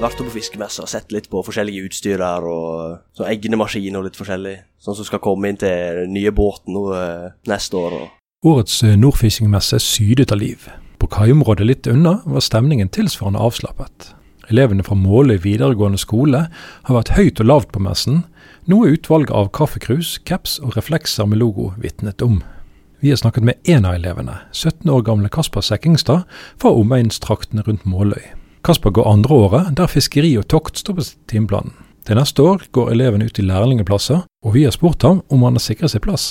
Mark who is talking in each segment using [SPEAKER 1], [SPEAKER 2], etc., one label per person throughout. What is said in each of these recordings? [SPEAKER 1] vært oppe på fiskemessa og sett litt på forskjellige utstyr her, og sånn egnemaskin og litt forskjellig. Sånn som skal komme inn til den nye båten nå eh, neste år. Og.
[SPEAKER 2] Årets eh, nordfiskingmesse sydet av liv. På kaiområdet litt unna var stemningen tilsvarende avslappet. Elevene fra Måløy videregående skole har vært høyt og lavt på messen, noe utvalget av kaffekrus, caps og reflekser med logo vitnet om. Vi har snakket med én av elevene, 17 år gamle Kasper Sekkingstad, fra omegnstraktene rundt Måløy. Kasper går andre året, der fiskeri og tokt står på timeplanen. Til neste år går elevene ut i lærlingeplasser, og vi har spurt ham om han har sikret seg plass.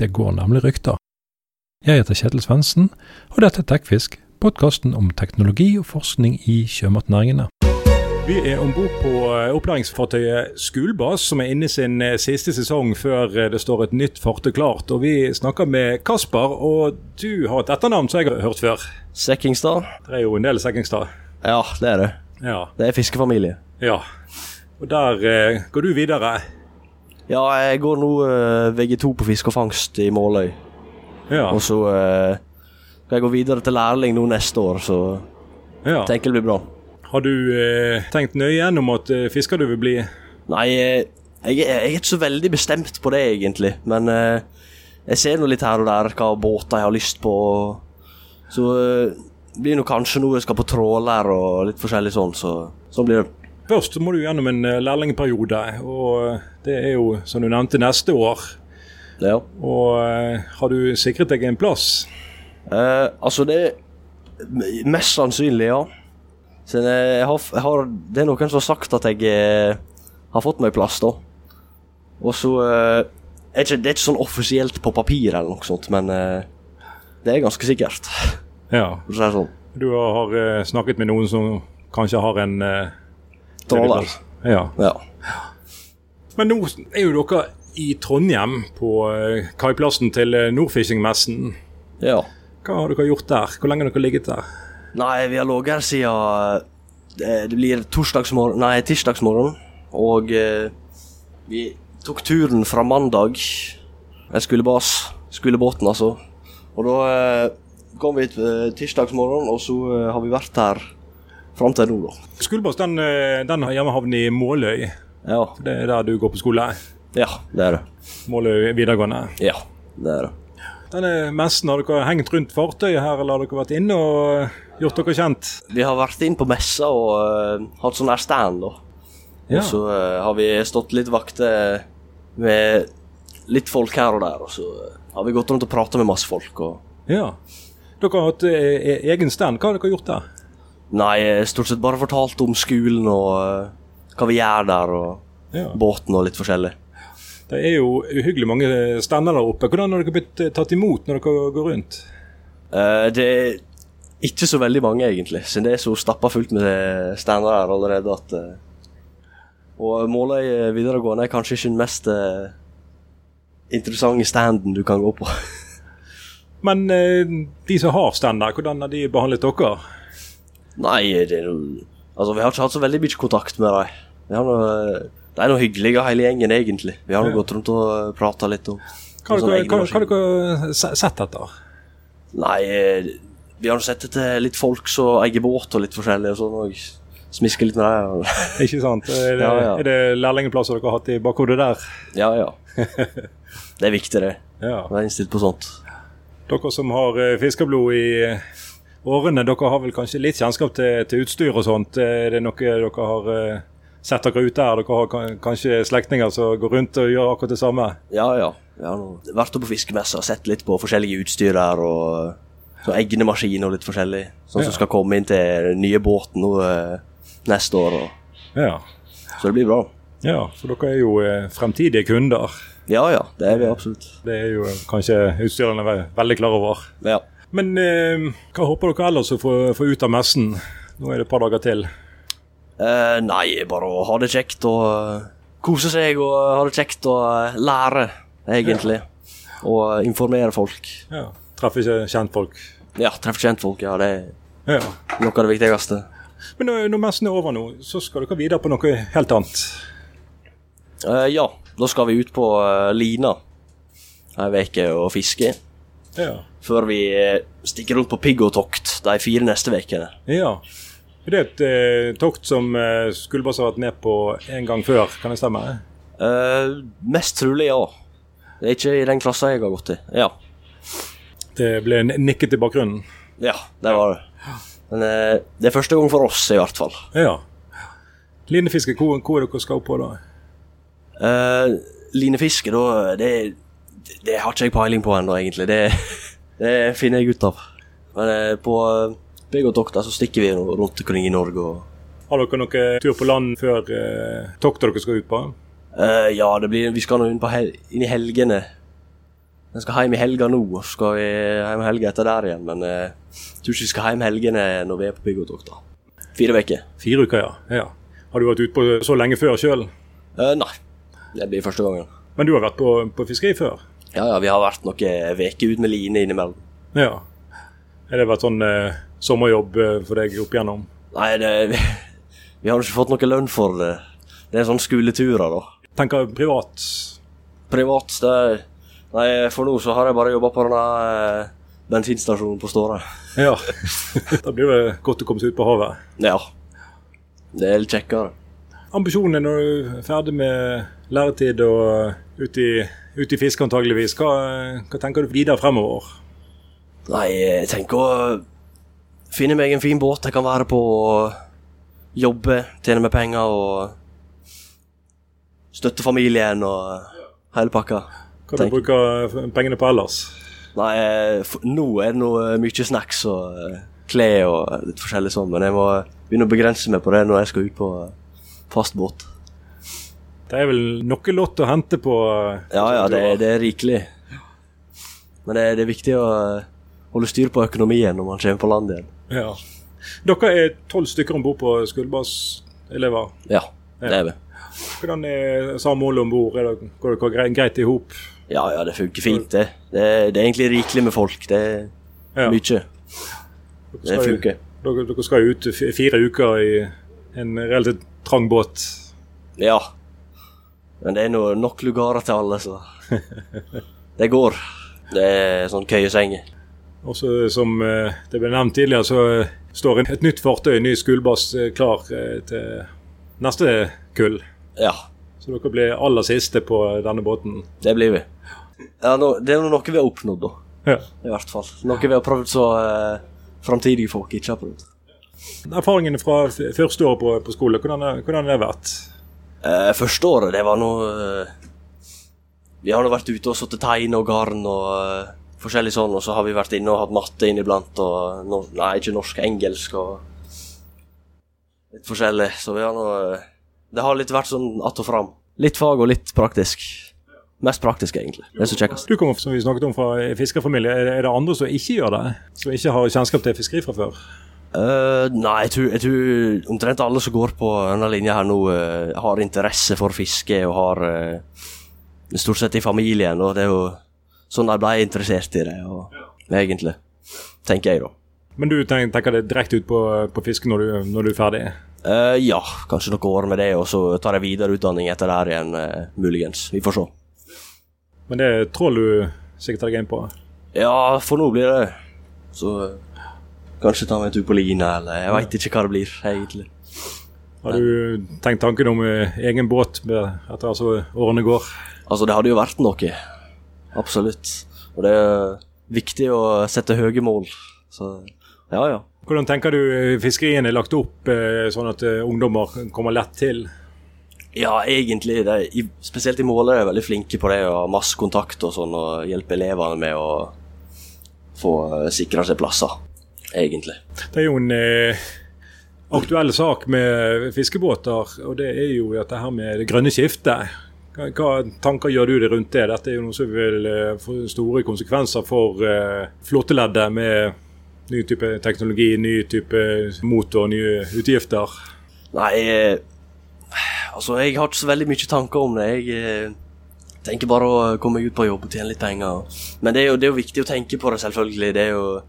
[SPEAKER 2] Det går nemlig rykter. Jeg heter Kjetil Svendsen, og dette er Tekfisk, podkasten om teknologi og forskning i sjømatnæringene.
[SPEAKER 3] Vi er om bord på eh, opplæringsfartøyet Skulbas, som er inne i sin eh, siste sesong før eh, det står et nytt fartøy klart. Og Vi snakker med Kasper, og du har et etternavn som jeg har hørt før.
[SPEAKER 1] Sekkingstad?
[SPEAKER 3] Det er jo en del Sekkingstad.
[SPEAKER 1] Ja, det er det.
[SPEAKER 3] Ja.
[SPEAKER 1] Det er fiskefamilie.
[SPEAKER 3] ja. Og der eh, går du videre.
[SPEAKER 1] Ja, jeg går nå eh, VG2 på fiske og fangst i Måløy,
[SPEAKER 3] Ja.
[SPEAKER 1] og så eh, skal jeg gå videre til lærling nå neste år, så
[SPEAKER 3] ja.
[SPEAKER 1] tenker det blir bra.
[SPEAKER 3] Har du eh, tenkt nøye gjennom at eh, fisker du vil bli?
[SPEAKER 1] Nei, eh, jeg, er- jeg er ikke så veldig bestemt på det, egentlig. Men eh, jeg ser nå litt her og der hva båter jeg har lyst på. og- Så eh, blir nå kanskje noe jeg skal på tråler og litt forskjellig sånn, så sånn blir det.
[SPEAKER 3] Først så må du gjennom en eh, lærlingperiode, og eh, det er jo, som du nevnte, neste år.
[SPEAKER 1] Ja.
[SPEAKER 3] Og eh, har du sikret deg en plass?
[SPEAKER 1] Eh, altså, det er mest sannsynlig, ja. Så eh, jeg, jeg har, jeg har, det er noen som har sagt at jeg eh, har fått meg plass, da. Og så eh, er ikke, Det er ikke sånn offisielt på papir eller noe sånt, men eh, det er ganske sikkert,
[SPEAKER 3] Ja.
[SPEAKER 1] for å si det sånn.
[SPEAKER 3] Du har eh, snakket med noen som kanskje har en eh,
[SPEAKER 1] Tråler.
[SPEAKER 3] Ja.
[SPEAKER 1] Ja.
[SPEAKER 3] Men nå er jo dere i Trondheim, på eh, kaiplassen til eh, Nordfishingmessen.
[SPEAKER 1] ja.
[SPEAKER 3] Hva har dere gjort der? Hvor lenge har dere ligget der?
[SPEAKER 1] Nei, vi har ligget her siden eh, Det blir torsdagsmorgen Nei, tirsdagsmorgen. Og eh, vi tok turen fra mandag. Jeg skulle bas. Skulle båten, altså. Og da eh, kom vi eh, tirsdagsmorgen, og så eh, har vi vært her fram til nå, da.
[SPEAKER 3] Skulbass den, eh, den har hjemmehavn i Måløy.
[SPEAKER 1] Ja.
[SPEAKER 3] Det er der du går på skole.
[SPEAKER 1] ja. Det er det.
[SPEAKER 3] Måløy videregående.
[SPEAKER 1] Ja, det er det.
[SPEAKER 3] Denne messen, har dere hengt rundt fartøyet her, eller har dere vært inne og eh, gjort dere kjent?
[SPEAKER 1] Vi har vært inn på messa og eh, hatt sånn her stand, da.
[SPEAKER 3] Ja.
[SPEAKER 1] Og så eh, har vi stått litt vakter med litt folk her og der, og så eh, har vi gått rundt og prata med masse folk. Og...
[SPEAKER 3] ja. Dere har hatt eh, e- egen stand. Hva har dere gjort der?
[SPEAKER 1] Nei, eh, stort sett bare fortalt om skolen og eh, hva vi gjør der, og
[SPEAKER 3] Ja.
[SPEAKER 1] båten og litt forskjellig.
[SPEAKER 3] Det er jo uhyggelig mange eh, stander der oppe. Hvordan har dere blitt eh, tatt imot når dere går rundt?
[SPEAKER 1] Eh, det er ikke så veldig mange, egentlig, siden det er så stappa fullt med stander her allerede at eh, Og Måløy videregående er kanskje ikke den mest eh, interessante standen du kan gå på.
[SPEAKER 3] Men eh, de som har stand der, hvordan har de behandlet dere?
[SPEAKER 1] Nei, det er jo Altså, vi har ikke hatt så veldig mye kontakt med dem. Vi har noe De er noe hyggelige, hele gjengen, egentlig. Vi har nå
[SPEAKER 3] Ja.
[SPEAKER 1] gått rundt og prata litt om
[SPEAKER 3] Hva har
[SPEAKER 1] om sånne
[SPEAKER 3] dere,
[SPEAKER 1] egne
[SPEAKER 3] hva, hva
[SPEAKER 1] maskiner.
[SPEAKER 3] har dere eh, se- sett etter?
[SPEAKER 1] Nei, eh, vi har nå sett etter litt folk som eier båt og litt forskjellig og sånn òg. Smiske litt med dem. og-
[SPEAKER 3] Ikke sant? Er det,
[SPEAKER 1] Ja, ja.
[SPEAKER 3] er det lærlingplasser dere har hatt i bakhodet der?
[SPEAKER 1] Ja, ja. Det er viktig, det.
[SPEAKER 3] Ja.
[SPEAKER 1] Være innstilt på sånt.
[SPEAKER 3] Dere som har eh, fiskerblod i eh, årene, dere har vel kanskje litt kjennskap til, til utstyr og sånt. Eh, Er det noe dere har eh, sett dere ut der? Dere har kan- kanskje slektninger som går rundt og gjør akkurat det samme?
[SPEAKER 1] Ja, ja. Vi har nå vært oppe på fiskemessa og sett litt på forskjellige utstyr der, og så egnemaskin og litt forskjellig. Sånn
[SPEAKER 3] Ja.
[SPEAKER 1] som skal komme inn til den nye båten nå eh, neste år. Og.
[SPEAKER 3] Ja.
[SPEAKER 1] Så det blir bra.
[SPEAKER 3] ja, for dere er jo eh, fremtidige kunder.
[SPEAKER 1] Ja, ja, det er vi absolutt.
[SPEAKER 3] Det er jo kanskje utstyrerne ve- veldig klar over.
[SPEAKER 1] Ja.
[SPEAKER 3] Men eh, hva håper dere ellers å få, få ut av messen? Nå er det et par dager til.
[SPEAKER 1] Eh, nei, bare å ha det kjekt og eh, kose seg og ha det kjekt og eh, lære, egentlig. Og eh, informere folk.
[SPEAKER 3] Ja. Treffer ikke kjentfolk.
[SPEAKER 1] Ja, treffe kjentfolk, ja, det er
[SPEAKER 3] Ja.
[SPEAKER 1] noe av det viktigste.
[SPEAKER 3] Men eh, når, når messen er over nå, så skal dere videre på noe helt annet.
[SPEAKER 1] Eh, ja, da skal vi ut på eh, Lina ei uke og fiske.
[SPEAKER 3] Ja.
[SPEAKER 1] Før vi eh, stikker rundt på piggåtokt de fire neste ukene.
[SPEAKER 3] ja. Det er et eh, tokt som eh, Skulebås har vært med på en gang før, kan det stemme?
[SPEAKER 1] Eh, mest trolig ja. Det er ikke i den klassa jeg har gått i. Ja.
[SPEAKER 3] Det ble n- nikket i bakgrunnen.
[SPEAKER 1] ja det var det. Men eh, det er første gang for oss, i hvert fall.
[SPEAKER 3] Ja. Linefiske, hvor, hvor er dere skal på da?
[SPEAKER 1] Eh, linefiske, da det, det har ikke jeg peiling på ennå, egentlig. Det, det finner jeg ut av. Men eh, på eh, Begotokta så stikker vi nå rundt omkring i Norge og
[SPEAKER 3] Har dere noen tur på land før eh, toktet dere skal ut på?
[SPEAKER 1] Eh, Ja, det blir, vi skal nå inn, på hel inn i helgene. Jeg skal hjem i helga nå, og så skal vi hjem i helga etter der igjen. Men eh, jeg tror ikke vi skal hjem i helgene når vi er på Begotokta. Fire uker.
[SPEAKER 3] Fire uker, ja. ja. Har du vært ute på så lenge før sjøl?
[SPEAKER 1] Eh, nei, det blir første gangen.
[SPEAKER 3] Men du har vært på, på fiskeri før?
[SPEAKER 1] Ja, ja, vi har vært noen uker ut med line innimellom.
[SPEAKER 3] Ja. Har det vært sånn eh, sommerjobb eh, for deg opp igjennom?
[SPEAKER 1] Nei, det, vi, vi har jo ikke fått noe lønn for det. Det er sånn skoleturer, da.
[SPEAKER 3] Tenker privat.
[SPEAKER 1] Privat, det er Nei, for nå så har jeg bare jobba på denne eh, bensinstasjonen på Ståre.
[SPEAKER 3] Ja. da blir det godt å komme seg ut på havet.
[SPEAKER 1] Ja. Det er litt kjekkere.
[SPEAKER 3] Ambisjonen når du er ferdig med læretid og ut i, ut i fiske antageligvis, hva, hva tenker du videre fremover?
[SPEAKER 1] Nei, jeg tenker å finne meg en fin båt jeg kan være på og jobbe, tjene meg penger og støtte familien og hele pakka.
[SPEAKER 3] Hva du
[SPEAKER 1] Tenk-
[SPEAKER 3] bruker pengene på ellers?
[SPEAKER 1] Nei, eh, f- nå er det noe eh, mye snacks og eh, klær og litt forskjellig sånn, men jeg må begynne å begrense meg på det når jeg skal ut på eh, fast båt.
[SPEAKER 3] Det er vel noe lott å hente på
[SPEAKER 1] Ja ja, det, er- det er rikelig. Men det, er- det er viktig å eh, holde styr på økonomien når man kommer på land igjen.
[SPEAKER 3] Ja. Dere er tolv stykker om bord på Skuldbass-elever.
[SPEAKER 1] Ja, det er vi.
[SPEAKER 3] Hvordan er samholdet om bord? Går dere gre- greit i hop?
[SPEAKER 1] Ja, ja, det funker fint, det. Det er, det er egentlig rikelig med folk. Det er
[SPEAKER 3] Ja.
[SPEAKER 1] mye. Det funker.
[SPEAKER 3] Dere, dere skal jo ut f- fire uker i en relativt trang båt.
[SPEAKER 1] Ja. Men det er nå nok lugarer til alle, så Det går. Det er sånn køyesenge.
[SPEAKER 3] Og så som eh, det ble nevnt tidligere, så eh, står en- et nytt fartøy, en ny skuldbass, eh, klar eh, til neste kull.
[SPEAKER 1] Ja,
[SPEAKER 3] Så dere blir aller siste på eh, denne båten.
[SPEAKER 1] det blir vi. Ja, nå, det er nå noe vi har oppnådd, da.
[SPEAKER 3] Ja.
[SPEAKER 1] I hvert fall. Noe vi har prøvd så eh, framtidige folk ikke har prøvd.
[SPEAKER 3] Erfaringene fra f- første året på, på skole, hvordan er- hvordan har det vært?
[SPEAKER 1] Eh, første året, det var nå eh, Vi har nå vært ute og satt tegne og garn og eh, forskjellig sånn, og så har vi vært inne og hatt matte inniblant og nor Nei, ikke norsk, engelsk og litt forskjellig. Så vi har nå eh, Det har litt vært sånn att og fram. Litt fag og litt praktisk. Mest praktisk, egentlig. Det er så kjekkest.
[SPEAKER 3] Du kommer, som vi snakket om, fra en fiskerfamilie. Er det- er det andre som ikke gjør det? Som ikke har kjennskap til fiskeri fra før?
[SPEAKER 1] Eh, nei, jeg tror, jeg tror omtrent alle som går på denne linja her nå, eh, har interesse for fiske og har eh, Stort sett i familien, og det er jo sånn de ble interessert i det, og, egentlig. Tenker jeg, da.
[SPEAKER 3] Men du tenker, tenker det direkte ut på, eh, på fiske når du, når du er ferdig?
[SPEAKER 1] Eh, ja, kanskje noen år med det, og så tar jeg videre utdanning etter der igjen, eh, muligens. Vi får se.
[SPEAKER 3] Men det er trål du sikter deg inn på?
[SPEAKER 1] Ja, for nå blir det Så eh, kanskje ta meg en tur på Lina, eller jeg veit ikke hva det blir, egentlig.
[SPEAKER 3] Har du tenkt tanken om eh, egen båt med- etter at så årene går?
[SPEAKER 1] Altså, det hadde jo vært noe. Absolutt. Og det er viktig å sette høye mål. Så ja, ja.
[SPEAKER 3] Hvordan tenker du eh, fiskerien er lagt opp eh, sånn at eh, ungdommer kommer lett til?
[SPEAKER 1] Ja, egentlig. Det er, i, spesielt i Måløy er de veldig flinke på det å ha masse kontakt og sånn, og hjelpe elevene med å få eh, sikra seg plasser, egentlig.
[SPEAKER 3] Det er jo en eh, aktuell sak med fiskebåter, og det er jo dette her med det grønne skiftet. Hva, hva tanker gjør du deg rundt det? Dette er jo noe som vil eh, få store konsekvenser for eh, flåteleddet med ny type teknologi, ny type motor, nye utgifter.
[SPEAKER 1] Nei, eh, altså jeg har ikke så veldig mye tanker om det. Jeg eh, tenker bare å komme meg ut på jobb og tjene litt penger. og- Men det er, jo, det er jo viktig å tenke på det, selvfølgelig. Det er jo,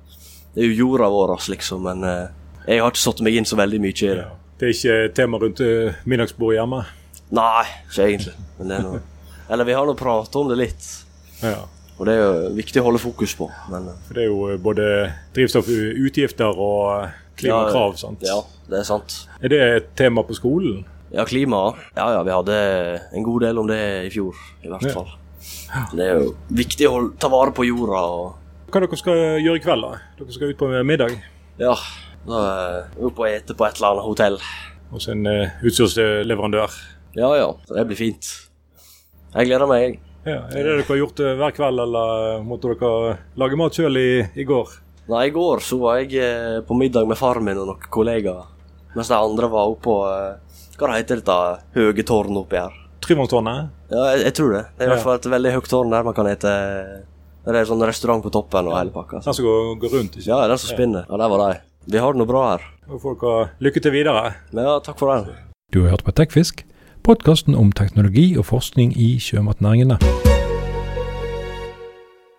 [SPEAKER 1] det er jo jorda vår, ass, liksom. Men eh, jeg har ikke satt meg inn så veldig mye i det.
[SPEAKER 3] Det er ikke tema rundt eh, middagsbordet hjemme.
[SPEAKER 1] Nei, ikke egentlig. Men det er noe. Eller vi har nå prata om det litt,
[SPEAKER 3] Ja.
[SPEAKER 1] og det er jo viktig å holde fokus på. Men eh,
[SPEAKER 3] For det er jo både drivstoffutgifter og eh, Klimakrav, sant.
[SPEAKER 1] Ja, det er sant.
[SPEAKER 3] Er det et tema på skolen?
[SPEAKER 1] Ja, klima. Ja ja, vi hadde en god del om det i fjor, i hvert
[SPEAKER 3] Ja.
[SPEAKER 1] fall. Det er jo viktig å ta vare på jorda og
[SPEAKER 3] Hva dere skal gjøre i kveld, da? Dere skal ut på middag.
[SPEAKER 1] Ja. Da er vi oppe og ete på et eller annet hotell.
[SPEAKER 3] Hos en eh, utstyrsleverandør.
[SPEAKER 1] Ja ja, så det blir fint. Jeg gleder meg, jeg.
[SPEAKER 3] Ja, er det det dere har gjort eh, hver kveld, eller måtte dere lage mat sjøl i, i går?
[SPEAKER 1] Nei, i går så var jeg eh, på middag med far min og noen kollegaer. Mens de andre var oppe på eh, Hva det heter dette høye tårnet oppi her?
[SPEAKER 3] Tryvannstårnet?
[SPEAKER 1] Ja, jeg, jeg tror det. Det er i
[SPEAKER 3] Ja.
[SPEAKER 1] hvert fall et veldig høyt tårn der man kan ete Det er en sånn restaurant på toppen og hele pakka.
[SPEAKER 3] Den som går, går rundt? ikke?
[SPEAKER 1] Ja, den som spinner. Ja, der var de. Vi har det nå bra her.
[SPEAKER 3] Og folk har lykke til videre.
[SPEAKER 1] Men ja, takk for den.
[SPEAKER 2] Du har hørt på Tekfisk, podkasten om teknologi og forskning i sjømatnæringene.